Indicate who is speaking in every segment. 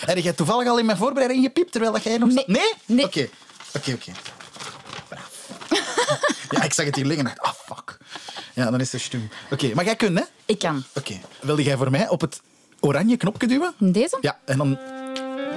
Speaker 1: Heb jij toevallig al in mijn voorbereiding gepiept terwijl dat jij nog...
Speaker 2: Nee.
Speaker 1: Nee?
Speaker 2: Nee.
Speaker 1: Oké. Oké, oké. Braaf. ja, ik zag het hier liggen en dacht, ah, fuck. Ja, dan is het stum. Oké, maar jij kunt, hè?
Speaker 2: Ik kan.
Speaker 1: Oké. Wilde jij voor mij op het oranje knopje duwen?
Speaker 2: Deze?
Speaker 1: Ja, en dan...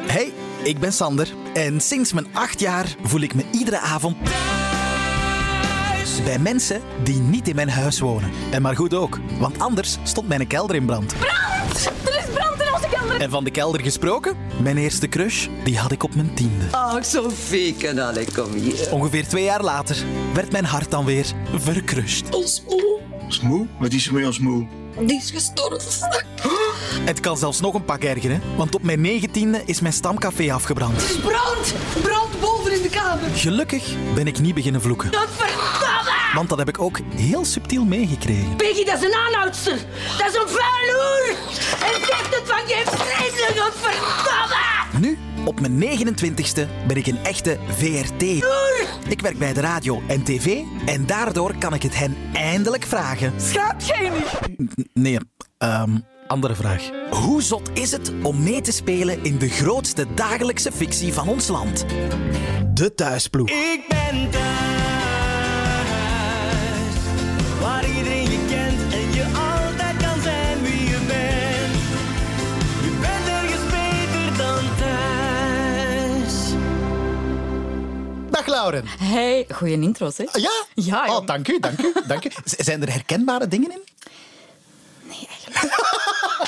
Speaker 1: Hey, ik ben Sander. En sinds mijn acht jaar voel ik me iedere avond thuis bij mensen die niet in mijn huis wonen. En maar goed ook, want anders stond mijn kelder in brand.
Speaker 2: Er is brand in onze kelder.
Speaker 1: En van de kelder gesproken, mijn eerste crush, die had ik op mijn tiende.
Speaker 3: Ach, Sophie, kan alle, kom hier.
Speaker 1: Ongeveer twee jaar later werd mijn hart dan weer verkrust.
Speaker 4: Ons moe.
Speaker 5: Ons moe? Wat is er met ons moe?
Speaker 4: Die is gestorven.
Speaker 1: Het kan zelfs nog een pak ergeren, want op mijn negentiende is mijn stamcafé afgebrand.
Speaker 4: Brand! Brand boven in de kamer.
Speaker 1: Gelukkig ben ik niet beginnen vloeken,
Speaker 4: Godverdomme!
Speaker 1: want dat heb ik ook heel subtiel meegekregen.
Speaker 4: Peggy, dat is een aanhoudster. Dat is een vuil hoer. En zegt het van geen vreselijk. Godverdomme!
Speaker 1: Nu, op mijn 29ste, ben ik een echte VRT. Ik werk bij de radio en tv en daardoor kan ik het hen eindelijk vragen.
Speaker 2: Schaapt jij niet?
Speaker 1: Nee, ehm, andere vraag. Hoe zot is het om mee te spelen in de grootste dagelijkse fictie van ons land? De thuisploeg.
Speaker 6: Ik ben thuis, waar iedereen je kent en je altijd kan zijn wie je bent. Je bent ergens beter dan thuis.
Speaker 1: Dag Lauren.
Speaker 2: Hey, goeie intro's, hè?
Speaker 1: Ja?
Speaker 2: Ja, jong.
Speaker 1: Oh, dank u, dank u, dank u. Z- Zijn er herkenbare dingen in?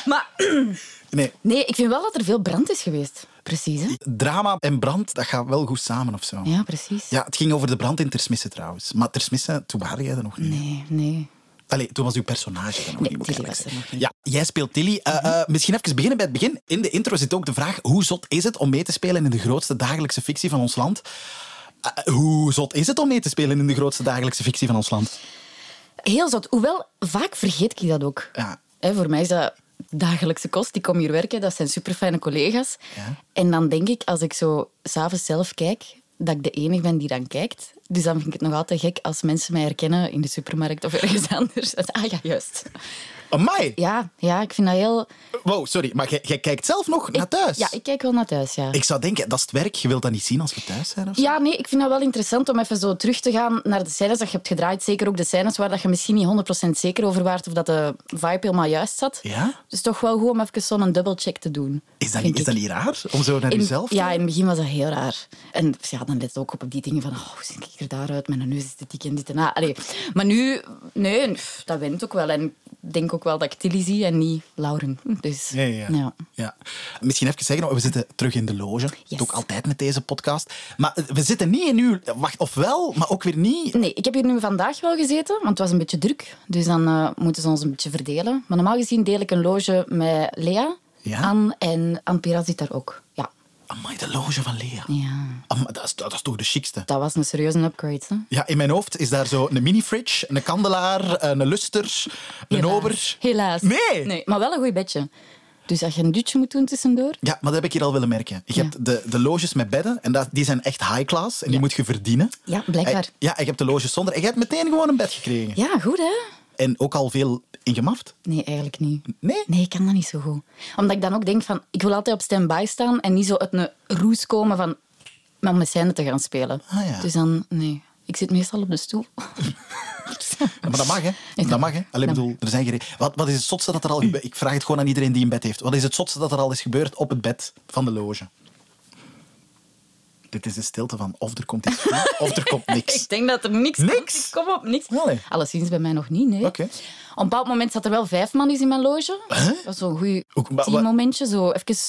Speaker 2: Maar
Speaker 1: Nee,
Speaker 2: nee, ik vind wel dat er veel brand is geweest. Precies, hè?
Speaker 1: drama en brand, dat gaat wel goed samen of zo.
Speaker 2: Ja, precies.
Speaker 1: Ja, het ging over de brand in Tersmissen trouwens. Maar Tersmissen, toen waren jij er nog niet.
Speaker 2: Nee, nee.
Speaker 1: Allee, toen was uw personage er nog
Speaker 2: Nee,
Speaker 1: niet. moet ik
Speaker 2: Tilly
Speaker 1: eerlijk
Speaker 2: was er
Speaker 1: zeggen.
Speaker 2: nog niet. Mhm.
Speaker 1: Ja, jij speelt Tilly. Eh, eh, misschien even beginnen bij het begin. In de intro zit ook de vraag: hoe zot is het om mee te spelen in de grootste dagelijkse fictie van ons land? Eh, hoe zot is het om mee te spelen in de grootste dagelijkse fictie van ons land?
Speaker 2: Heel zot. Hoewel, vaak vergeet ik dat ook.
Speaker 1: Ja.
Speaker 2: Hè, voor mij is dat dagelijkse kost. Ik kom hier werken, dat zijn superfijne collega's.
Speaker 1: Ja.
Speaker 2: En dan denk ik, als ik zo s'avonds zelf kijk, dat ik de enige ben die dan kijkt. Dus dan vind ik het nog altijd gek als mensen mij herkennen in de supermarkt of ergens anders. Ah ja, juist.
Speaker 1: Amai!
Speaker 2: Ja, ja ik vind dat heel...
Speaker 1: Wow, sorry, maar jij- jij kijkt zelf nog naar
Speaker 2: Ik-
Speaker 1: thuis?
Speaker 2: Ja, ik kijk wel naar thuis, ja.
Speaker 1: Ik zou denken, dat is het werk. Je wilt dat niet zien als we thuis zijn? Of zo?
Speaker 2: Ja, nee, ik vind dat wel interessant om even zo terug te gaan naar de scènes dat je hebt gedraaid. Zeker ook de scènes waar dat je misschien niet 100% zeker over waart of dat de vibe helemaal juist zat.
Speaker 1: Ja?
Speaker 2: Dus toch wel goed om even zo'n dubbelcheck te doen.
Speaker 1: Is, dat
Speaker 2: vind
Speaker 1: niet, is
Speaker 2: ik.
Speaker 1: dat niet raar? Om zo naar
Speaker 2: In-
Speaker 1: jezelf te
Speaker 2: Ja, in het begin was dat heel raar. En ja, dan let je ook op die dingen van, oh, hoe zie ik er daaruit? Mijn neus is te dik en dit en dat. Allee. Maar nu, nee, pff, dat went ook wel. En ik denk ook wel dat ik Tilly zie en niet Lauren. Dus,
Speaker 1: Ja, ja. ja. ja. Misschien even zeggen, we zitten terug in de loge. Dat doe ik altijd met deze podcast. Maar eh, we zitten niet in uw... Wacht, of wel, maar ook weer niet.
Speaker 2: Nee, ik heb hier nu vandaag wel gezeten, want het was een beetje druk. Dus dan eh, moeten ze ons een beetje verdelen. Maar normaal gezien deel ik een loge met Lea,
Speaker 1: Ja?
Speaker 2: Anne en Anne Pira zit daar ook. Ja.
Speaker 1: Amai, de loge van Lea.
Speaker 2: ja,
Speaker 1: Amai, dat, is, dat is toch de chicste.
Speaker 2: dat was een serieuze upgrade. Hè?
Speaker 1: Ja, in mijn hoofd is daar zo een mini-fridge, een kandelaar, een luster, een
Speaker 2: Helaas.
Speaker 1: ober.
Speaker 2: Helaas.
Speaker 1: Nee.
Speaker 2: Maar wel een goed bedje. Dus als je een dutje moet doen tussendoor...
Speaker 1: Ja, maar dat heb ik hier al willen merken. Je
Speaker 2: Ja.
Speaker 1: hebt de, de loges met bedden, en dat, die zijn echt high class. En die moet je verdienen.
Speaker 2: Ja, blijkbaar.
Speaker 1: En- ja, en je hebt de loges zonder. En je hebt meteen gewoon een bed gekregen.
Speaker 2: Ja, goed hè?
Speaker 1: En ook al veel ingemaft.
Speaker 2: Nee, eigenlijk niet.
Speaker 1: Nee?
Speaker 2: Nee, ik kan dat niet zo goed. Omdat ik dan ook denk van, ik wil altijd op stand-by staan en niet zo uit een roes komen van, maar om mijn scène te gaan spelen.
Speaker 1: Ah, ja.
Speaker 2: Dus dan, nee. Ik zit meestal op de stoel.
Speaker 1: Ja, Maar dat mag, hè?
Speaker 2: Ja.
Speaker 1: Dat mag, hè? Alleen
Speaker 2: Dat
Speaker 1: bedoel, er zijn geen... wat, wat is het zotste dat er al gebeurd Ik vraag het gewoon aan iedereen die een bed heeft. Wat is het zotste dat er al is gebeurd op het bed van de loge? Dit is de stilte van of er komt iets goed, of er komt niks.
Speaker 2: ik denk dat er niks,
Speaker 1: Niks?
Speaker 2: komt. Ik kom op, niks.
Speaker 1: Allee.
Speaker 2: Alleszins bij mij nog niet, nee.
Speaker 1: Oké.
Speaker 2: Op een bepaald moment zat er wel vijf man eens in mijn loge. Dat was zo'n goed
Speaker 1: Ook- maar-
Speaker 2: teammomentje. Zo even...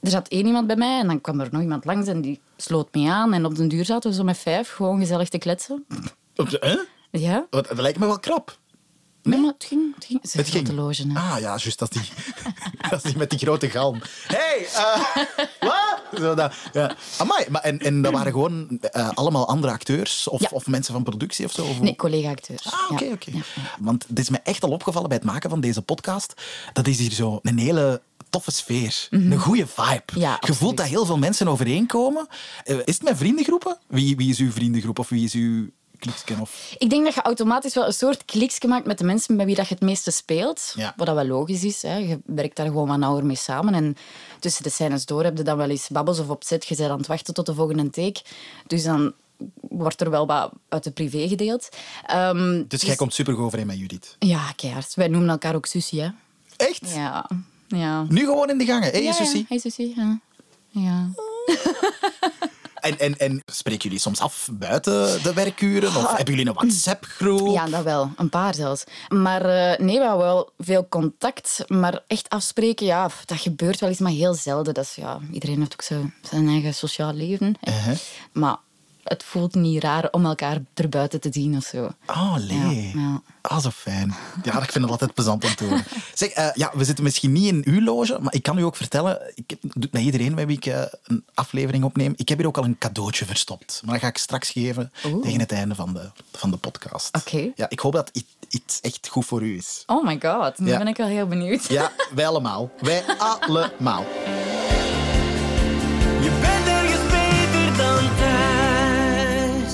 Speaker 2: Er zat één iemand bij mij en dan kwam er nog iemand langs en die sloot me aan. En op den duur zaten we zo met vijf gewoon gezellig te kletsen.
Speaker 1: Op de- hè?
Speaker 2: Ja.
Speaker 1: Wat, dat lijkt me wel krap.
Speaker 2: Nee, maar het ging. Het ging. Ze
Speaker 1: Het
Speaker 2: zat
Speaker 1: ging.
Speaker 2: te logen, hè.
Speaker 1: Ah ja, juist dat is die, dat is die met die grote galm. Hé, hey, eh, wat? Zo dat, ja. Amai, maar en, en dat waren gewoon eh, allemaal andere acteurs of,
Speaker 2: Ja.
Speaker 1: of mensen van productie of zo? Of-
Speaker 2: Nee, collega-acteurs.
Speaker 1: Ah, oké,
Speaker 2: Ja.
Speaker 1: oké.
Speaker 2: Ja.
Speaker 1: Want het is me echt al opgevallen bij het maken van deze podcast. Dat is hier zo een hele toffe sfeer. Een goede vibe.
Speaker 2: Mhm. Ja,
Speaker 1: je voelt
Speaker 2: absoluut.
Speaker 1: dat heel veel mensen overeenkomen. Eh, Is het met vriendengroepen? Wie, wie is uw vriendengroep of wie is uw kliksken of...
Speaker 2: Ik denk dat je automatisch wel een soort kliksje maakt met de mensen bij wie dat je het meeste speelt.
Speaker 1: Ja.
Speaker 2: Wat dat wel logisch is. Hè. Je werkt daar gewoon wat nauwer mee samen. En tussen de scènes door heb je dan wel eens babbels of opzet. Je bent aan het wachten tot de volgende take. Dus dan wordt er wel wat uit het privé gedeeld. Ehm,
Speaker 1: Dus jij komt super overeen met Judith.
Speaker 2: Ja, keihard. Wij noemen elkaar ook Susie, hè.
Speaker 1: Echt?
Speaker 2: Ja. Ja.
Speaker 1: Nu gewoon in de gangen. Hé, hey,
Speaker 2: ja,
Speaker 1: Susie.
Speaker 2: Ja. Hey, Susie. Ja. ja.
Speaker 1: En, en, en spreken jullie soms af buiten de werkuren? Of hebben jullie een WhatsApp-groep?
Speaker 2: Ja, dat wel. Een paar zelfs. Maar eh, nee, we houden wel veel contact. Maar echt afspreken, ja, pff, dat gebeurt wel eens, maar heel zelden. Dat is, ja, iedereen heeft ook zo zijn eigen sociaal leven. hè.
Speaker 1: Uh-huh.
Speaker 2: Maar het voelt niet raar om elkaar erbuiten te zien of zo.
Speaker 1: Oh, nee.
Speaker 2: Ja, ja.
Speaker 1: Ah, zo fijn. Ja, ik vind het altijd plezant om te horen. Zeg, eh, ja, we zitten misschien niet in uw loge, maar ik kan u ook vertellen, ik heb, het doet met iedereen bij wie ik eh, een aflevering opneem, ik heb hier ook al een cadeautje verstopt. Maar dat ga ik straks geven
Speaker 2: Oeh.
Speaker 1: tegen het einde van de, van de podcast.
Speaker 2: Oké.
Speaker 1: Ja, ik hoop dat i- iets echt goed voor u is.
Speaker 2: Oh my god, nu
Speaker 1: Ja.
Speaker 2: ben ik wel heel benieuwd.
Speaker 1: Ja, wij allemaal. Wij allemaal.
Speaker 6: Je bent ergens beter dan thuis.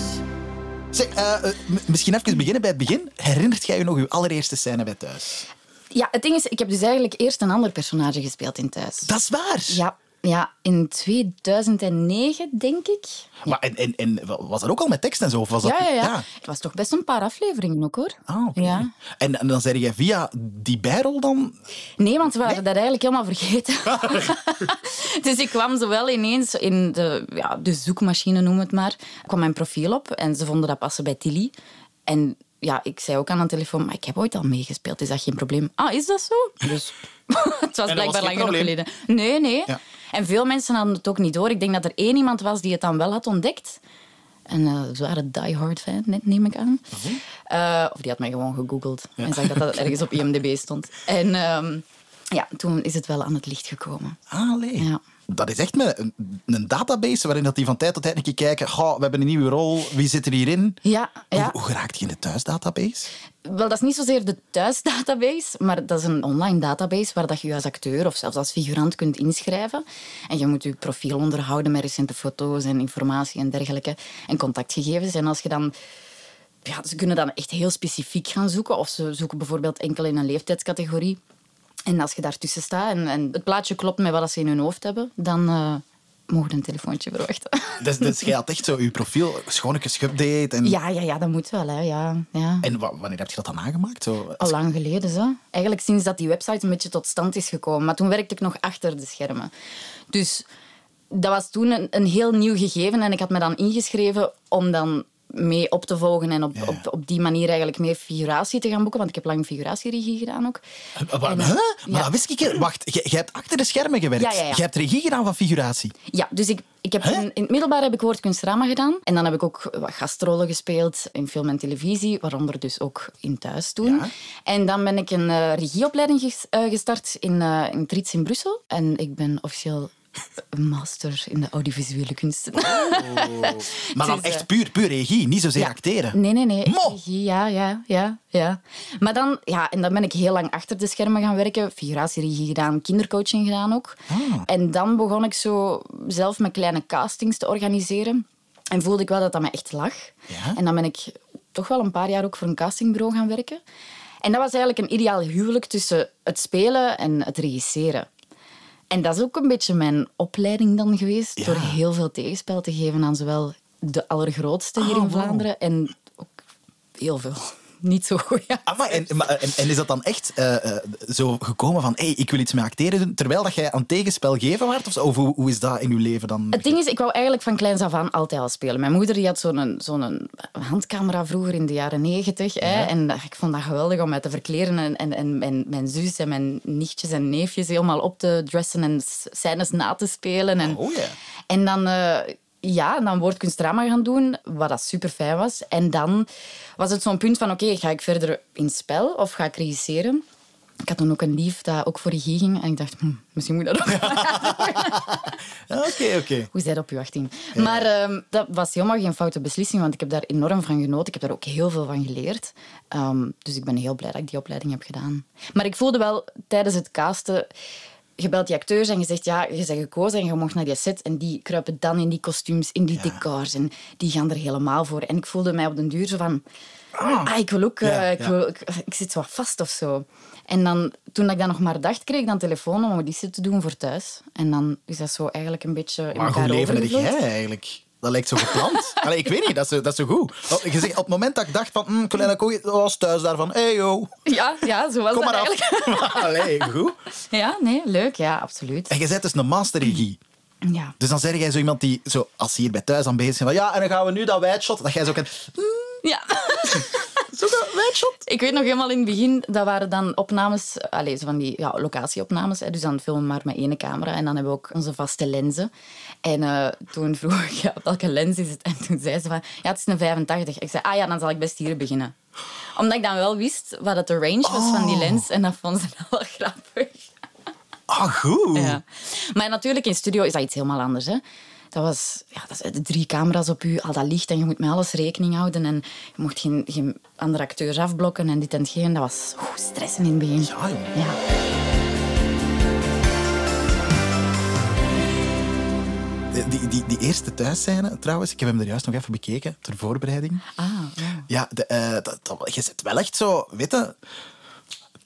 Speaker 1: Zeg, eh, eh, m- misschien even beginnen bij het begin. Herinnert jij je nog uw allereerste scène bij thuis?
Speaker 2: Ja, het ding is, ik heb dus eigenlijk eerst een ander personage gespeeld in Thuis.
Speaker 1: Dat is waar.
Speaker 2: Ja, ja, in 2009, denk ik.
Speaker 1: Maar en, en, en was dat ook al met tekst en zo? Of was dat...
Speaker 2: Ja, ja, ja, Het was toch best een paar afleveringen ook, hoor.
Speaker 1: Ah, oké.
Speaker 2: Ja.
Speaker 1: En, en dan zei jij via die bijrol dan...
Speaker 2: Nee, want we waren dat eigenlijk helemaal vergeten.
Speaker 1: Ah.
Speaker 2: dus ik kwam zowel ineens in de, ja, de zoekmachine, noem het maar, kwam mijn profiel op en ze vonden dat passen bij Tilly. En ja, ik zei ook aan de telefoon, maar ik heb ooit al meegespeeld, is dat geen probleem? Ah, is dat zo? Dus het was
Speaker 1: geen
Speaker 2: blijkbaar lang genoeg
Speaker 1: probleem.
Speaker 2: geleden. Nee, nee.
Speaker 1: Ja.
Speaker 2: En veel mensen hadden het ook niet door. Ik denk dat er één iemand was die het dan wel had ontdekt. Een eh, zware diehard fan, ne- neem ik aan. Eh, of die had mij gewoon gegoogeld en zag dat dat ergens op IMDb stond. En ehm, ja, toen is het wel aan het licht gekomen.
Speaker 1: Allee.
Speaker 2: Ja.
Speaker 1: Dat is echt met een, een database waarin dat die van tijd tot tijd een keer kijken. Goh, we hebben een nieuwe rol. Wie zit er hierin?
Speaker 2: Ja, ja.
Speaker 1: Hoe, hoe geraakt je in de thuisdatabase?
Speaker 2: Wel, dat is niet zozeer de thuisdatabase, maar dat is een online database waar dat je je als acteur of zelfs als figurant kunt inschrijven. En je moet je profiel onderhouden met recente foto's en informatie en dergelijke en contactgegevens. En als je dan... Ja, ze kunnen dan echt heel specifiek gaan zoeken. Of ze zoeken bijvoorbeeld enkel in een leeftijdscategorie. En als je daartussen staat en, en het plaatje klopt met wat ze in hun hoofd hebben, dan eh mogen we een telefoontje verwachten.
Speaker 1: Dus, dus jij had echt zo je profiel schoonetjes geüpdate. En,
Speaker 2: Ja, ja, ja, dat moet wel, hè. Ja, ja.
Speaker 1: en wa- wanneer heb je dat dan aangemaakt? Zo,
Speaker 2: Al lang geleden, zo. Eigenlijk sinds dat die website een beetje tot stand is gekomen. Maar toen werkte ik nog achter de schermen. Dus dat was toen een, een heel nieuw gegeven. En ik had me dan ingeschreven om dan mee op te volgen en op,
Speaker 1: Ja.
Speaker 2: op, op die manier eigenlijk meer figuratie te gaan boeken. Want ik heb lang figuratieregie gedaan ook.
Speaker 1: Eh, Wa- wa-
Speaker 2: En-
Speaker 1: huh? Maar
Speaker 2: ja.
Speaker 1: dat wist ik niet. Wacht, jij jij hebt achter de schermen gewerkt.
Speaker 2: Ja, ja, ja.
Speaker 1: Jij hebt regie gedaan van figuratie.
Speaker 2: Ja, dus ik, ik heb
Speaker 1: Hè?
Speaker 2: in, in het middelbaar heb ik woordkunstrama gedaan. En dan heb ik ook wat gastrollen gespeeld in film en televisie, waaronder dus ook in thuis toen.
Speaker 1: Ja.
Speaker 2: En dan ben ik een eh, regieopleiding ges- eh, gestart in, eh, in Triets in Brussel. En ik ben officieel een master in de audiovisuele kunsten.
Speaker 1: Maar dan
Speaker 2: Het is,
Speaker 1: echt
Speaker 2: eh,
Speaker 1: puur, puur regie, niet zozeer
Speaker 2: Ja.
Speaker 1: acteren.
Speaker 2: Nee, nee, nee.
Speaker 1: Mo!
Speaker 2: Regie, Ja, ja, ja, ja. Maar dan, ja, en dan ben ik heel lang achter de schermen gaan werken. Figuratieregie gedaan, kindercoaching gedaan ook.
Speaker 1: Ah.
Speaker 2: En dan begon ik zo zelf mijn kleine castings te organiseren. En voelde ik wel dat dat me echt lag.
Speaker 1: Ja?
Speaker 2: En dan ben ik toch wel een paar jaar ook voor een castingbureau gaan werken. En dat was eigenlijk een ideaal huwelijk tussen het spelen en het regisseren. En dat is ook een beetje mijn opleiding dan geweest. Door heel veel tegenspel te geven aan zowel de allergrootste hier
Speaker 1: Ah,
Speaker 2: in
Speaker 1: wauw.
Speaker 2: Vlaanderen en ook heel veel. Niet zo goed, ja.
Speaker 1: Amai, en, Ah, maar- en, en is dat dan echt eh, eh, zo gekomen van, hey, ik wil iets met acteren doen, terwijl dat jij aan tegenspel geven waart? Of, zo? of hoe, hoe is dat in uw leven dan?
Speaker 2: Het ding is, ik wou eigenlijk van kleins af aan altijd al spelen. Mijn moeder die had zo'n zo'n handcamera vroeger in de jaren negentig. hè, En dat- ik vond dat geweldig om mij te verkleren. En, en, en mijn, mijn zus en mijn nichtjes en neefjes helemaal op te dressen en s- scènes na te spelen. En,
Speaker 1: Oh, ja.
Speaker 2: en dan, eh ja, en dan woordkunstdrama gaan doen, wat dat super fijn was. En dan was het zo'n punt van, oké, ga ik verder in spel of ga ik regisseren? Ik had toen ook een lief dat ook voor regie ging. En ik dacht, hm, misschien moet ik dat ook
Speaker 1: Oké, Ah, oké.
Speaker 2: hoe zij dat op je 18. Maar ehm, dat was helemaal geen foute beslissing, want ik heb daar enorm van genoten. Ik heb daar ook heel veel van geleerd. Ehm, dus ik ben heel blij dat ik die opleiding heb gedaan. Maar ik voelde wel tijdens het casten. je belt die acteurs en je zegt, ja, je bent gekozen en je mocht naar die set. En die kruipen dan in die kostuums, in die decors. En die gaan er helemaal voor. En ik voelde mij op den duur zo van... Ah, ik wil ook... eh,
Speaker 1: Ja,
Speaker 2: ik,
Speaker 1: ja.
Speaker 2: wil- ik, ik zit zo wat vast of zo. En dan, toen ik dat nog maar dacht, kreeg ik dan telefoon om auditie te doen voor thuis. En dan is dat zo eigenlijk een beetje in
Speaker 1: Maar
Speaker 2: elkaar
Speaker 1: hoe levendig
Speaker 2: overgevloeid.
Speaker 1: jij eigenlijk? Dat lijkt zo gepland. Allee, ik weet niet, dat is, zo- dat is zo goed. Want je zegt, op het moment dat ik dacht van, hm, Colin Akkooi was thuis daarvan. Hey yo,
Speaker 2: Ja, ja, zo was
Speaker 1: kom
Speaker 2: dat
Speaker 1: maar
Speaker 2: eigenlijk.
Speaker 1: af. Allee, goed.
Speaker 2: Ja, nee, leuk. Ja, absoluut.
Speaker 1: En je bent dus een masterregie.
Speaker 2: Ja.
Speaker 1: Dus dan zeg jij zo iemand die, zo, als ze hier bij thuis aan bezig zijn, van ja, en dan gaan we nu dat wijdshot. Dat jij zo kent.
Speaker 2: Ja.
Speaker 1: Zo dat wijdshot.
Speaker 2: Ik weet nog helemaal in het begin, dat waren dan opnames, eh, allez, zo van die ja, locatieopnames. Hè, dus dan filmen we maar met één camera en dan hebben we ook onze vaste lenzen. En eh, toen vroeg ik, ja, welke lens is het? En toen zei ze van, ja, het is een 85. Ik zei, ah ja, dan zal ik best hier beginnen. Omdat ik dan wel wist wat het de range was van
Speaker 1: Oh.
Speaker 2: die lens en dat vond ze dan wel grappig.
Speaker 1: Ah, goed.
Speaker 2: Ja. Maar natuurlijk, in studio is dat iets helemaal anders. Hè? Dat was ja, dat is eh, drie camera's op u, al dat licht en je moet met alles rekening houden. En je mocht geen, geen andere acteurs afblokken en dit en geen. Dat was oeh, stressen in het begin.
Speaker 1: Ja, joh.
Speaker 2: Ja.
Speaker 1: Die, die, die eerste thuisscène, trouwens, ik heb hem er juist nog even bekeken, ter voorbereiding.
Speaker 2: Ah, ja.
Speaker 1: Ja, de, eh, dat, dat- je zit wel echt zo, weet je,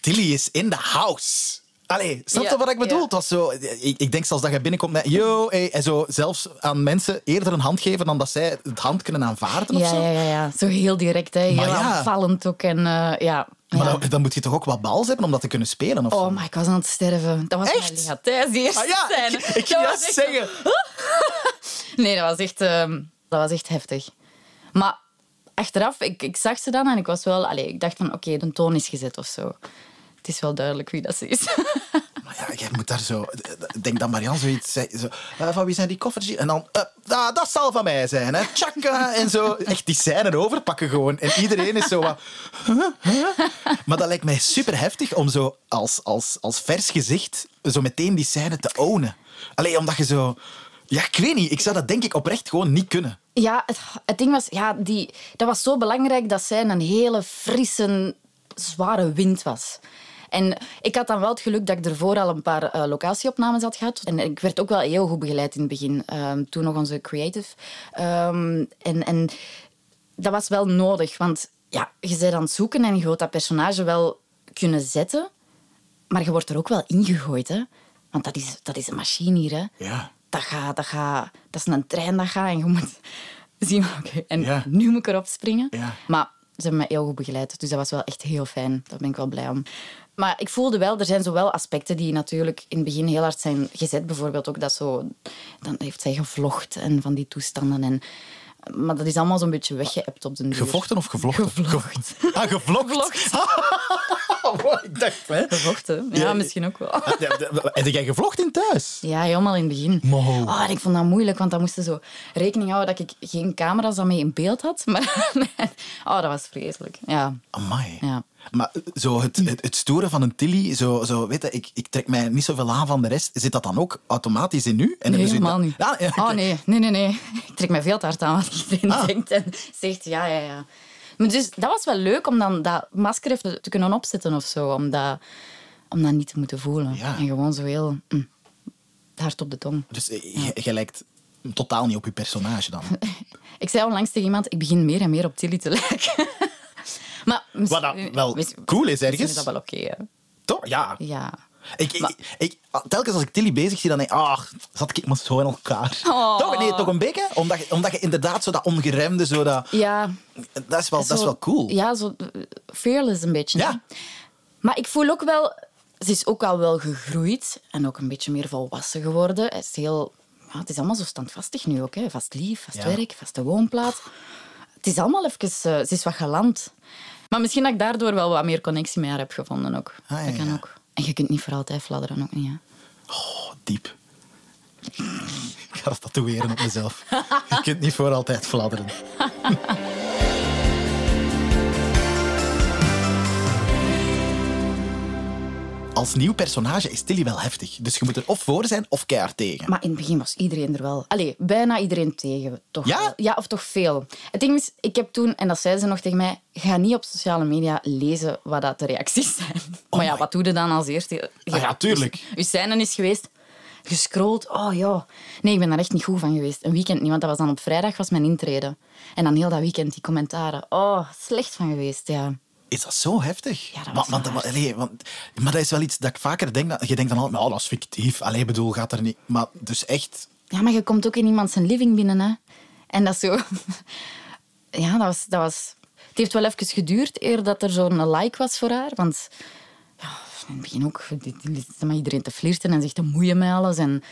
Speaker 1: Tilly is in the house. Allee, snap je
Speaker 2: Ja,
Speaker 1: wat ik bedoel?
Speaker 2: ja.
Speaker 1: Het was zo, ik, ik denk zelfs dat je binnenkomt met yo, hey, en zo zelfs aan mensen eerder een hand geven dan dat zij het hand kunnen aanvaarden of
Speaker 2: Ja,
Speaker 1: zo.
Speaker 2: ja, ja, ja. Zo heel direct, hè. heel
Speaker 1: Maar ja.
Speaker 2: aanvallend ook. En, eh, ja.
Speaker 1: Maar
Speaker 2: Ja.
Speaker 1: dan, dan moet je toch ook wat bals hebben om dat te kunnen spelen? Of zo?
Speaker 2: Oh my, ik was aan het sterven. Dat was
Speaker 1: Echt?
Speaker 2: mijn lichaam. Tijdens die eerste
Speaker 1: ah ja, ik,
Speaker 2: scène.
Speaker 1: ik
Speaker 2: Dat
Speaker 1: ging
Speaker 2: was
Speaker 1: juist
Speaker 2: echt-
Speaker 1: zeggen.
Speaker 2: Nee, dat was echt, ehm, dat was echt heftig. Maar achteraf, ik, ik zag ze dan en ik was wel... Allee, ik dacht van, oké, de toon is gezet of zo. Het is wel duidelijk wie dat ze is.
Speaker 1: Maar ja, jij moet daar zo... Ik denk dat Marianne zoiets zei. Zo, eh, van wie zijn die koffers? hier? En dan, eh, ah, dat zal van mij zijn. Hè. Tjaka, en zo. Echt die scène overpakken gewoon. En iedereen is zo wat... huh, huh? Maar dat lijkt mij super heftig om zo als, als, als vers gezicht zo meteen die scène te ownen. Alleen omdat je zo... Ja, ik weet niet. Ik zou dat denk ik oprecht gewoon niet kunnen.
Speaker 2: ja, het, het ding was... Ja, die, dat was zo belangrijk dat zij een hele frisse, zware wind was. En ik had dan wel het geluk dat ik ervoor al een paar eh, locatieopnames had gehad. En ik werd ook wel heel goed begeleid in het begin. Ehm, toen nog onze creative. Ehm, en... en dat was wel nodig, want ja, je bent aan het zoeken en je wilt dat personage wel kunnen zetten, maar je wordt er ook wel ingegooid, hè? Want dat is, dat is een machine hier, hè?
Speaker 1: Ja.
Speaker 2: Dat, gaat, dat, gaat, dat is een trein dat gaat en je moet zien, oké, en
Speaker 1: Ja.
Speaker 2: nu moet ik erop springen.
Speaker 1: Ja.
Speaker 2: Maar ze hebben me heel goed begeleid, dus dat was wel echt heel fijn. Daar ben ik wel blij om. Maar ik voelde wel, er zijn zowel aspecten die natuurlijk in het begin heel hard zijn gezet. Bijvoorbeeld ook dat zo... Dan heeft zij gevlocht en van die toestanden. En, maar dat is allemaal zo'n beetje weggeëpt op de duur.
Speaker 1: Gevochten of gevlochten?
Speaker 2: Gevlocht.
Speaker 1: Ah, gevlokt. Wat ik dacht, hè.
Speaker 2: Gevochten? Ja,
Speaker 1: Ja.
Speaker 2: misschien ook wel.
Speaker 1: Ah, ja, ja, Heb jij gevlocht in thuis?
Speaker 2: Ja, helemaal in het begin.
Speaker 1: Mo.
Speaker 2: Oh, en ik vond dat moeilijk, want dan moesten zo rekening houden dat ik geen camera's daarmee in beeld had. Maar oh, dat was vreselijk. Ja.
Speaker 1: Amai.
Speaker 2: Ja.
Speaker 1: Maar eh, zo het, het, het storen van een Tilly, zo, zo weet je, ik, ik trek mij niet zoveel aan van de rest. Zit dat dan ook automatisch in u? En hebben
Speaker 2: Nee,
Speaker 1: ze u
Speaker 2: helemaal
Speaker 1: dat-
Speaker 2: niet.
Speaker 1: Ah, Ja, ja, oké.
Speaker 2: Oh nee, nee, nee, nee. Ik trek mij veel te hard aan wat iedereen
Speaker 1: Ah.
Speaker 2: denkt en zegt ja, ja, ja. Maar dus dat was wel leuk om dan dat masker even te kunnen opzetten of zo. Om dat, om dat niet te moeten voelen.
Speaker 1: Ja.
Speaker 2: En gewoon zo heel mm, hard op de tong.
Speaker 1: Dus eh, jij jij lijkt totaal niet op je personage dan.
Speaker 2: Ik zei onlangs tegen iemand, ik begin meer en meer op Tilly te lijken. maar misschien-
Speaker 1: Wat dat wel
Speaker 2: misschien-
Speaker 1: cool is
Speaker 2: misschien is
Speaker 1: ergens.
Speaker 2: dat wel oké, hè.
Speaker 1: Toch? Ja.
Speaker 2: ja.
Speaker 1: Ik, ik,
Speaker 2: Maar-
Speaker 1: ik- ah, telkens als ik Tilly bezig zie, dan denk ik, ah, zat ik maar zo in elkaar.
Speaker 2: Oh.
Speaker 1: Toch? Nee, toch een beetje? Omdat je, omdat je inderdaad zo dat ongeremde, zo dat,
Speaker 2: Ja.
Speaker 1: dat, is, wel, dat is
Speaker 2: zo-
Speaker 1: wel cool.
Speaker 2: Ja, zo eh, fearless een beetje. hè.
Speaker 1: Ja.
Speaker 2: Maar ik voel ook wel... Ze is ook al wel gegroeid en ook een beetje meer volwassen geworden. Het is, heel, ja, het is allemaal zo standvastig nu ook. Hè. Vast lief, vast
Speaker 1: Ja.
Speaker 2: werk, vaste woonplaats. Het is allemaal even... eh, ze is wat galant. Maar misschien dat ik daardoor wel wat meer connectie met haar heb gevonden ook.
Speaker 1: Ah, ja,
Speaker 2: dat kan
Speaker 1: ja.
Speaker 2: ook. En je kunt niet voor altijd fladderen, ook niet. Hè.
Speaker 1: Oh, diep. Ik ga dat tatoeëren op mezelf. Je kunt niet voor altijd fladderen. als nieuw personage is Tilly wel heftig. Dus je moet er of voor zijn of keihard tegen.
Speaker 2: Maar in het begin was iedereen er wel. Allee, bijna iedereen tegen. Toch
Speaker 1: Ja?
Speaker 2: wel. Ja, of toch veel. Het ding is, ik heb toen, en dat zei ze nog tegen mij, ga niet op sociale media lezen wat dat de reacties zijn. maar
Speaker 1: Oh
Speaker 2: ja,
Speaker 1: my-
Speaker 2: wat doe je dan als eerste?
Speaker 1: Ah ja, tuurlijk.
Speaker 2: Dus Uw scène is geweest, gescrolld, oh ja. Nee, ik ben daar echt niet goed van geweest. Een weekend niet, want dat was dan op vrijdag was mijn intreden. En dan heel dat weekend die commentaren. Oh, slecht van geweest, ja.
Speaker 1: Is dat zo heftig?
Speaker 2: Ja, dat
Speaker 1: want,
Speaker 2: was
Speaker 1: want,
Speaker 2: wel
Speaker 1: want-
Speaker 2: hard.
Speaker 1: allee, want- maar dat is wel iets dat ik vaker denk. Dat, je denkt dan altijd, maar, oh, dat is fictief. Allee, bedoel, gaat er niet... Maar dus echt...
Speaker 2: Ja, maar je komt ook in iemand zijn living binnen, hè. En dat is zo... Ja, dat was, dat was... Het heeft wel even geduurd eer dat er zo'n like was voor haar. Want ja, in het begin ook die- die zit met iedereen te flirten en zegt te moeien met alles. En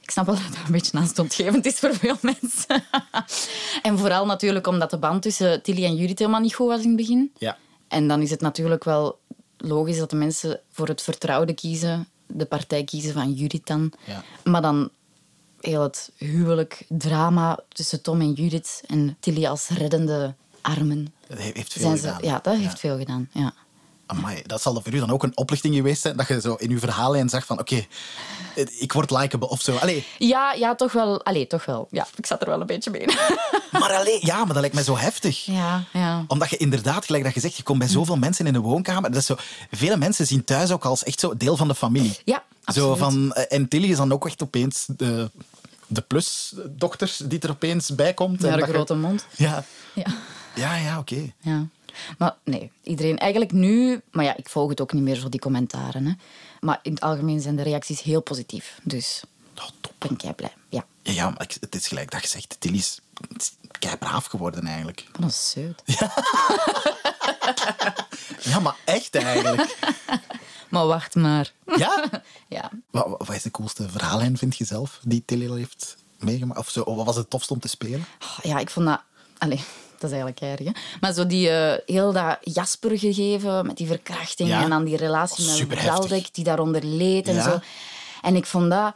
Speaker 2: ik snap wel dat dat een beetje aanstootgevend is voor veel mensen. en vooral natuurlijk omdat de band tussen Tilly en Judith helemaal niet goed was in het begin.
Speaker 1: Ja.
Speaker 2: En dan is het natuurlijk wel logisch dat de mensen voor het vertrouwde kiezen, de partij kiezen van Judith dan.
Speaker 1: Ja.
Speaker 2: Maar dan heel het huwelijk, drama tussen Tom en Judith en Tilly als reddende armen.
Speaker 1: Dat he- heeft veel
Speaker 2: Zijn ze,
Speaker 1: gedaan.
Speaker 2: ja, dat heeft veel gedaan. Ja.
Speaker 1: Amai, dat zal voor u dan ook een oplichting geweest zijn. Dat je zo in uw verhaallijn zag van, oké, het- ik word likeable of zo. Allee,
Speaker 2: Ja, ja, toch wel. Allee, toch wel. Ja, ik zat er wel een beetje mee.
Speaker 1: maar alleen, ja, maar dat lijkt mij zo heftig.
Speaker 2: ja, ja.
Speaker 1: Omdat je inderdaad, gelijk dat je zegt, je komt bij zoveel mensen in de woonkamer. Dat is zo, vele mensen zien thuis ook als echt zo deel van de familie.
Speaker 2: Ja,
Speaker 1: zo
Speaker 2: absoluut.
Speaker 1: van, eh, En Tilly is dan ook echt opeens de, de plusdochter die er opeens bij komt.
Speaker 2: Ja,
Speaker 1: en
Speaker 2: de
Speaker 1: dat je-
Speaker 2: grote mond.
Speaker 1: Ja,
Speaker 2: Ja.
Speaker 1: ja, ja oké.
Speaker 2: Ja. Maar nee, iedereen eigenlijk nu... Maar ja, ik volg het ook niet meer, zo die commentaren. Hè. Maar in het algemeen zijn de reacties heel positief. Dus
Speaker 1: Oh, top.
Speaker 2: ben ik blij. Ja,
Speaker 1: Ja, ja, maar ik- het is gelijk dat je zegt, Tilly is kei braaf geworden eigenlijk.
Speaker 2: van een zeut.
Speaker 1: Ja, maar echt eigenlijk.
Speaker 2: Maar wacht maar.
Speaker 1: ja?
Speaker 2: Ja.
Speaker 1: Wat, wat- wat is de coolste verhaallijn, vind je zelf, die Tilly al heeft meegemaakt? Of zo, oh, wat was het tofst om te spelen?
Speaker 2: Oh, Ja, ik vond dat... Allee, dat is eigenlijk erg, hè. Maar zo die eh, heel dat Jasper gegeven met die verkrachting
Speaker 1: Ja.
Speaker 2: en dan die relatie
Speaker 1: Oh,
Speaker 2: met
Speaker 1: superheftig.
Speaker 2: Welbeck die daaronder leed en
Speaker 1: Ja.
Speaker 2: zo. En ik vond dat...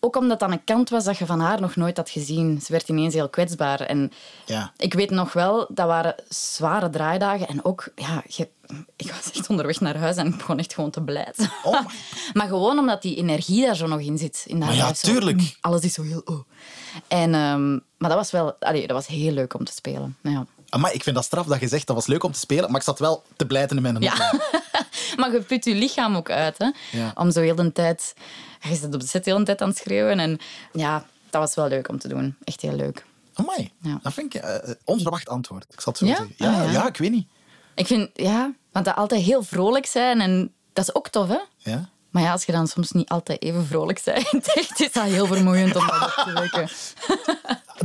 Speaker 2: Ook omdat dat een kant was dat je van haar nog nooit had gezien. Ze werd ineens heel kwetsbaar. En
Speaker 1: Ja.
Speaker 2: ik weet nog wel, dat waren zware draaidagen. En ook, ja, je- ik was echt onderweg naar huis en ik begon echt gewoon te blijten.
Speaker 1: Oh my.
Speaker 2: maar gewoon omdat die energie daar zo nog in zit. In dat
Speaker 1: Maar ja,
Speaker 2: lijf, zo,
Speaker 1: tuurlijk.
Speaker 2: mm, alles is zo heel... Oh. En, ehm, maar dat was wel... Allee, dat was heel leuk om te spelen. Nou Ja.
Speaker 1: Maar ik vind dat straf dat je zegt dat was leuk om te spelen, maar ik zat wel te blijten in mijn
Speaker 2: Ja. maar je put je lichaam ook uit, hè.
Speaker 1: Ja.
Speaker 2: Om zo heel de tijd... Je zit op de set heel de tijd aan het schreeuwen. En ja, dat was wel leuk om te doen. Echt heel leuk.
Speaker 1: Amai,
Speaker 2: Ja.
Speaker 1: dat vind ik eh, eh, onverwacht antwoord. Ik zal het zo
Speaker 2: Ja?
Speaker 1: zeggen. Ja,
Speaker 2: Ah,
Speaker 1: ja.
Speaker 2: ja.
Speaker 1: ik weet niet.
Speaker 2: Ik vind, ja, want dat altijd heel vrolijk zijn. En dat is ook tof, hè.
Speaker 1: Ja.
Speaker 2: Maar ja, als je dan soms niet altijd even vrolijk bent, echt, is dat heel vermoeiend om dat op te wekken.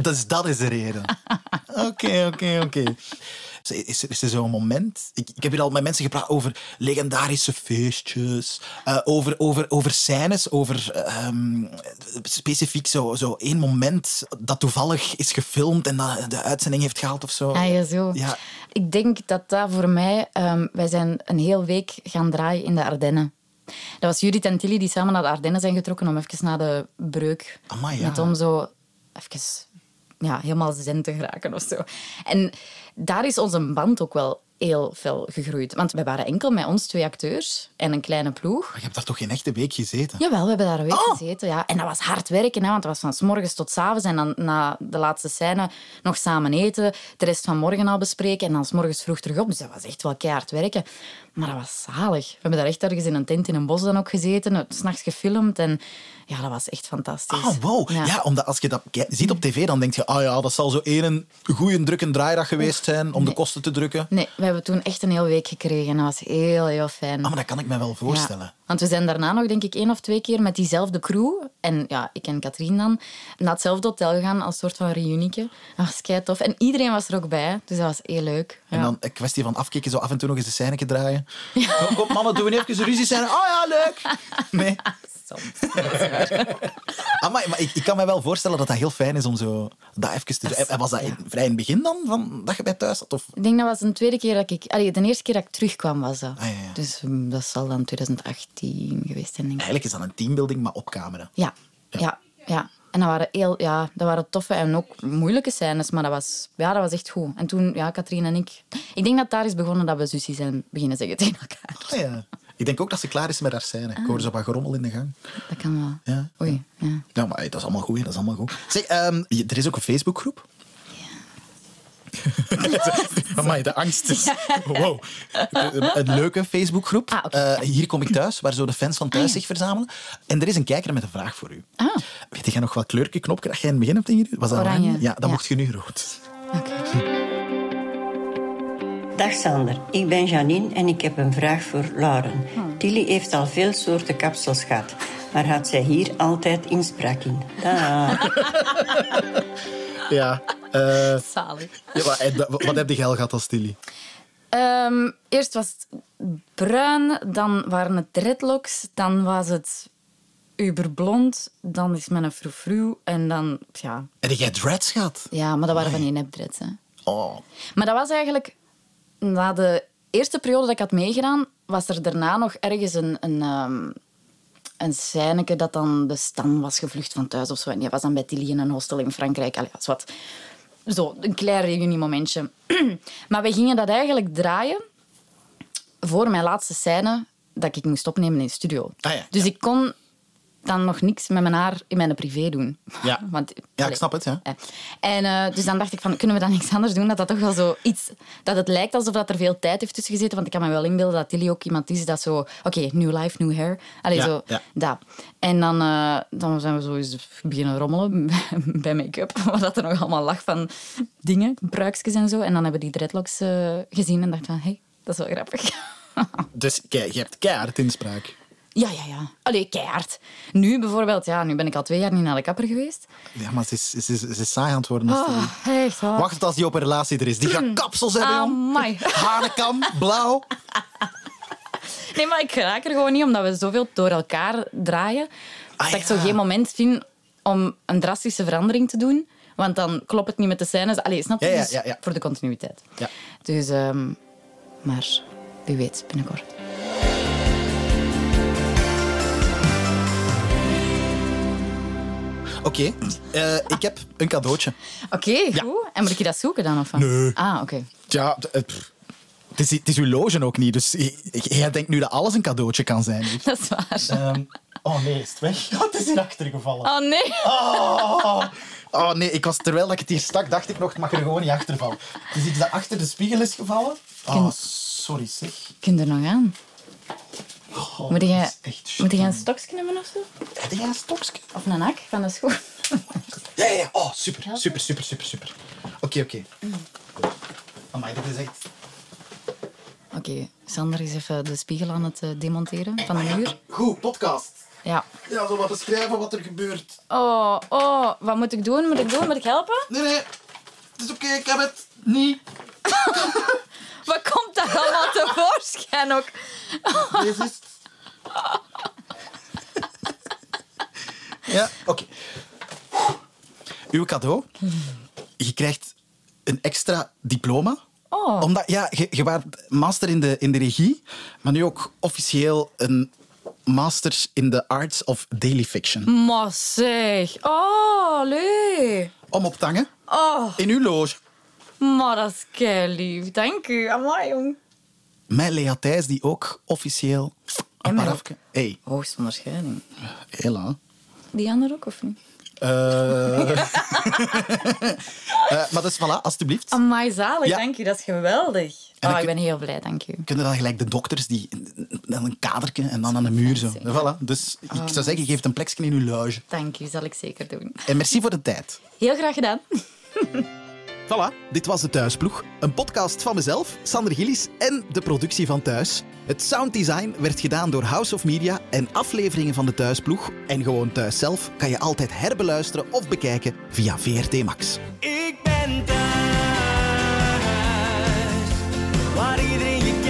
Speaker 1: Dus dat is de reden. Oké, oké, oké. Is- Is, er- is er zo'n moment? Ik, ik heb hier al met mensen gepraat over legendarische feestjes, eh, over, over, over scènes, over ehm, specifiek zo, zo één moment dat toevallig is gefilmd en dat de uitzending heeft gehaald of zo.
Speaker 2: Ah ja, zo.
Speaker 1: Ja.
Speaker 2: Ik denk dat dat voor mij... ehm, wij zijn een heel week gaan draaien in de Ardennen. Dat was Judith en Tilly die samen naar de Ardennen zijn getrokken om even na de breuk
Speaker 1: Amai, ja.
Speaker 2: met om zo even ja, helemaal zen te geraken of zo. En daar is onze band ook wel heel fel gegroeid. Want wij waren enkel met ons twee acteurs en een kleine ploeg.
Speaker 1: Maar je hebt daar toch geen echte week gezeten?
Speaker 2: Jawel, we hebben daar een week
Speaker 1: Oh.
Speaker 2: gezeten. Ja. En dat was hard werken, hè, want dat was van s morgens tot 's avonds. En dan na de laatste scène nog samen eten, de rest van morgen al bespreken. En dan 's morgens vroeg terug op. Dus dat was echt wel keihard werken. Maar dat was zalig. We hebben daar echt ergens in een tent in een bos dan ook gezeten. het 's nachts gefilmd. En ja, dat was echt fantastisch.
Speaker 1: Ah, wow. Ja. omdat als je dat ke- ziet op tv, dan denk je, ah ja, dat zal zo één goede druk en draaidag geweest zijn om de
Speaker 2: nee.
Speaker 1: kosten te drukken.
Speaker 2: Nee, we hebben toen echt een hele week gekregen. Dat was heel, heel fijn.
Speaker 1: Ah, maar dat kan ik me wel voorstellen.
Speaker 2: Ja, want we zijn daarna nog, denk ik, één of twee keer met diezelfde crew. En ja, ik en Katrien dan. Naar hetzelfde hotel gegaan als soort van reunieke. Dat was kei tof. En iedereen was er ook bij. Dus dat was heel leuk. Ja.
Speaker 1: En dan een kwestie van afkikken, zo af en toe nog eens de scène draaien. Kom, kom, mannen, doen we even een ruzie scène. Oh ja, leuk. Nee.
Speaker 2: Soms.
Speaker 1: Amai, maar ik, ik kan me wel voorstellen dat dat heel fijn is om zo dat even te doen. En- En was dat in- vrij in het begin dan, van, dat je bij thuis zat? Of...
Speaker 2: Ik denk dat was de tweede keer dat ik... Allee, de eerste keer dat ik terugkwam was dat.
Speaker 1: Ah, ja, ja.
Speaker 2: Dus mm, dat zal dan 2018 geweest zijn, denk ik.
Speaker 1: Eigenlijk is dat een teambuilding, maar op camera.
Speaker 2: Ja, ja, ja. En dat waren, heel, ja, dat waren toffe en ook moeilijke scènes, maar dat was, ja, dat was echt goed. En toen, ja, Katrien en ik... Ik denk dat daar is begonnen dat we zusjes zijn beginnen zeggen tegen elkaar.
Speaker 1: Ah, ja. Ik denk ook dat ze klaar is met haar scène. Ik
Speaker 2: Ah.
Speaker 1: hoor ze wat gerommel in de gang.
Speaker 2: Dat kan wel.
Speaker 1: Ja.
Speaker 2: Oei, ja.
Speaker 1: Ja, Nou, maar hey, dat is allemaal goed. hè, Dat is allemaal goed. Zeg, ehm, je- er is ook een Facebookgroep. Ja. Amai, de angst is... Wow. Een- Een leuke Facebookgroep.
Speaker 2: Ah, oké.
Speaker 1: Eh, hier kom ik thuis, waar zo de fans van thuis
Speaker 2: Ah, ja.
Speaker 1: zich verzamelen. En er is een kijker met een vraag voor u.
Speaker 2: Ah.
Speaker 1: Weet je nog wat kleurke knopje dat jij in het begin hebt ingeduwd? Was dat
Speaker 2: Oranje.
Speaker 1: Ja, dat
Speaker 2: Ja.
Speaker 1: mocht je nu rood.
Speaker 2: Oké.
Speaker 7: Dag Sander, ik ben Janine en ik heb een vraag voor Lauren. Tilly heeft al veel soorten kapsels gehad, maar had zij hier altijd inspraak in? Ah. Daag.
Speaker 1: Ja. eh,
Speaker 2: Zalig.
Speaker 1: ja, wat, wat heb je al gehad als Tilly?
Speaker 2: Ehm, eerst was het bruin, dan waren het dreadlocks, dan was het uberblond, dan is men een froufroe en dan... Ja,
Speaker 1: Heb jij dreads gehad?
Speaker 2: ja maar dat waren van die nepdreads, hè.
Speaker 1: Oh.
Speaker 2: Maar dat was eigenlijk na de eerste periode dat ik had meegedaan, was er daarna nog ergens een, een, ehm een scèneke dat dan de Stan was gevlucht van thuis of zo. En die was dan bij Tilly in een hostel in Frankrijk. Allee, dat is wat. Zo, een klein reuniemomentje. maar we gingen dat eigenlijk draaien voor mijn laatste scène dat ik moest opnemen in de studio.
Speaker 1: Ah ja,
Speaker 2: dus ik kon dan nog niks met mijn haar in mijn privé doen.
Speaker 1: Ja.
Speaker 2: Want,
Speaker 1: Ja, ik snap het, ja.
Speaker 2: En eh, dus dan dacht ik van, kunnen we dan niks anders doen? Dat dat toch wel zo iets... Dat het lijkt alsof dat er veel tijd heeft tussen gezeten. Want ik kan me wel inbeelden dat Tilly ook iemand is dat zo... Oké, new life, new hair. Allee,
Speaker 1: Ja,
Speaker 2: zo.
Speaker 1: ja.
Speaker 2: Dat. En dan, eh, dan zijn we zo eens beginnen rommelen bij- bij make-up. Waar dat er nog allemaal lag van dingen, pruikjes en zo. En dan hebben we die dreadlocks eh, gezien en dachten van... Hé, hey, dat is wel grappig.
Speaker 1: Dus kei- je hebt keihard inspraak.
Speaker 2: ja, ja, ja. Allee, keihard. Nu bijvoorbeeld, ja, nu ben ik al twee jaar niet naar de kapper geweest.
Speaker 1: Ja, maar ze is, ze is, ze is saai aan het worden. als Tilly.
Speaker 2: Ah, echt waar.
Speaker 1: Wacht tot als die op een relatie er is. Die gaat kapsels hebben, jong.
Speaker 2: Amai.
Speaker 1: Hanekam, blauw.
Speaker 2: Nee, maar ik raak er gewoon niet, omdat we zoveel door elkaar draaien.
Speaker 1: Ah,
Speaker 2: dat ik
Speaker 1: ja.
Speaker 2: zo geen moment vind om een drastische verandering te doen. Want dan klopt het niet met de scènes. Allee, snap je?
Speaker 1: Ja, ja,
Speaker 2: Dus
Speaker 1: ja, ja.
Speaker 2: Voor de continuïteit.
Speaker 1: Ja.
Speaker 2: Dus, ehm, maar wie weet, binnenkort.
Speaker 1: Oké, eh, ik heb een cadeautje.
Speaker 2: Oké, goed. En moet ik je dat zoeken dan? Of? wat?
Speaker 1: Nee.
Speaker 2: Ah, oké.
Speaker 1: Ja, eh, het is, het is uw loge ook niet, dus j- jij denkt nu dat alles een cadeautje kan zijn. hier.
Speaker 2: Dat is waar.
Speaker 1: Ehm, oh nee, is het weg? Oh, het is hier achtergevallen.
Speaker 2: Oh nee.
Speaker 1: Oh, oh nee, ik was, terwijl ik het hier stak, dacht ik nog, het mag er gewoon niet achter vallen. Het is iets dat achter de spiegel is gevallen. Oh, sorry zeg.
Speaker 2: Kun je er nog aan?
Speaker 1: Oh,
Speaker 2: Moet
Speaker 1: dat
Speaker 2: jij,
Speaker 1: is echt
Speaker 2: moet jij
Speaker 1: gênant.
Speaker 2: een stokje hebben of zo?
Speaker 1: Heb jij een stokje?
Speaker 2: Of een hak van de schoen?
Speaker 1: Ja, ja, ja. Oh, super, super, super, super, super. Oké, oké. Amai, dit is echt...
Speaker 2: Oké, Sander is even de spiegel aan het eh, demonteren van de muur.
Speaker 1: Goed, podcast.
Speaker 2: Ja.
Speaker 1: Ja, zo wat beschrijven wat er gebeurt.
Speaker 2: Oh, oh, wat moet ik doen? Moet ik doen? Moet ik helpen?
Speaker 1: Nee, nee. Het is oké, ik heb het. Niet.
Speaker 2: Wat komt daar allemaal tevoorschijn ook?
Speaker 1: Deze is Ja, oké. Uw cadeau. Je krijgt een extra diploma.
Speaker 2: Oh.
Speaker 1: Omdat, ja, je, je waart master in de, in de regie, maar nu ook officieel een master in the arts of daily fiction.
Speaker 2: Maar zeg. Oh, leuk.
Speaker 1: Om op tangen,
Speaker 2: Oh,
Speaker 1: in uw loge.
Speaker 2: maar dat is lief. Dank u. Amai, jong.
Speaker 1: Mijn Lea Thijs, die ook officieel...
Speaker 2: En
Speaker 1: Een
Speaker 2: mij
Speaker 1: parafke... hey,
Speaker 2: Hoogst onderscheiding.
Speaker 1: hela.
Speaker 2: Die andere ook, of niet?
Speaker 1: Eh. Eh, maar dus voilà, alstublieft.
Speaker 2: Amai, zalig.
Speaker 1: Ja.
Speaker 2: Dank u. Dat is geweldig.
Speaker 1: dan
Speaker 2: Oh, ik
Speaker 1: kun-
Speaker 2: ben heel blij. Dank u.
Speaker 1: Kunnen dan gelijk de dokters die dan een kadertje en dan aan de muur zo. Voilà. Dus ik zou zeggen, geef het een plekje in uw loge.
Speaker 2: Dank u. Zal ik zeker doen.
Speaker 1: En merci voor de tijd.
Speaker 2: Heel graag gedaan.
Speaker 1: Voilà, dit was De Thuisploeg. Een podcast van mezelf, Sander Gillis en de productie van Thuis. Het sounddesign werd gedaan door House of Media en afleveringen van De Thuisploeg en gewoon Thuis zelf kan je altijd herbeluisteren of bekijken via VRT Max.
Speaker 6: Ik ben thuis, waar iedereen je kent.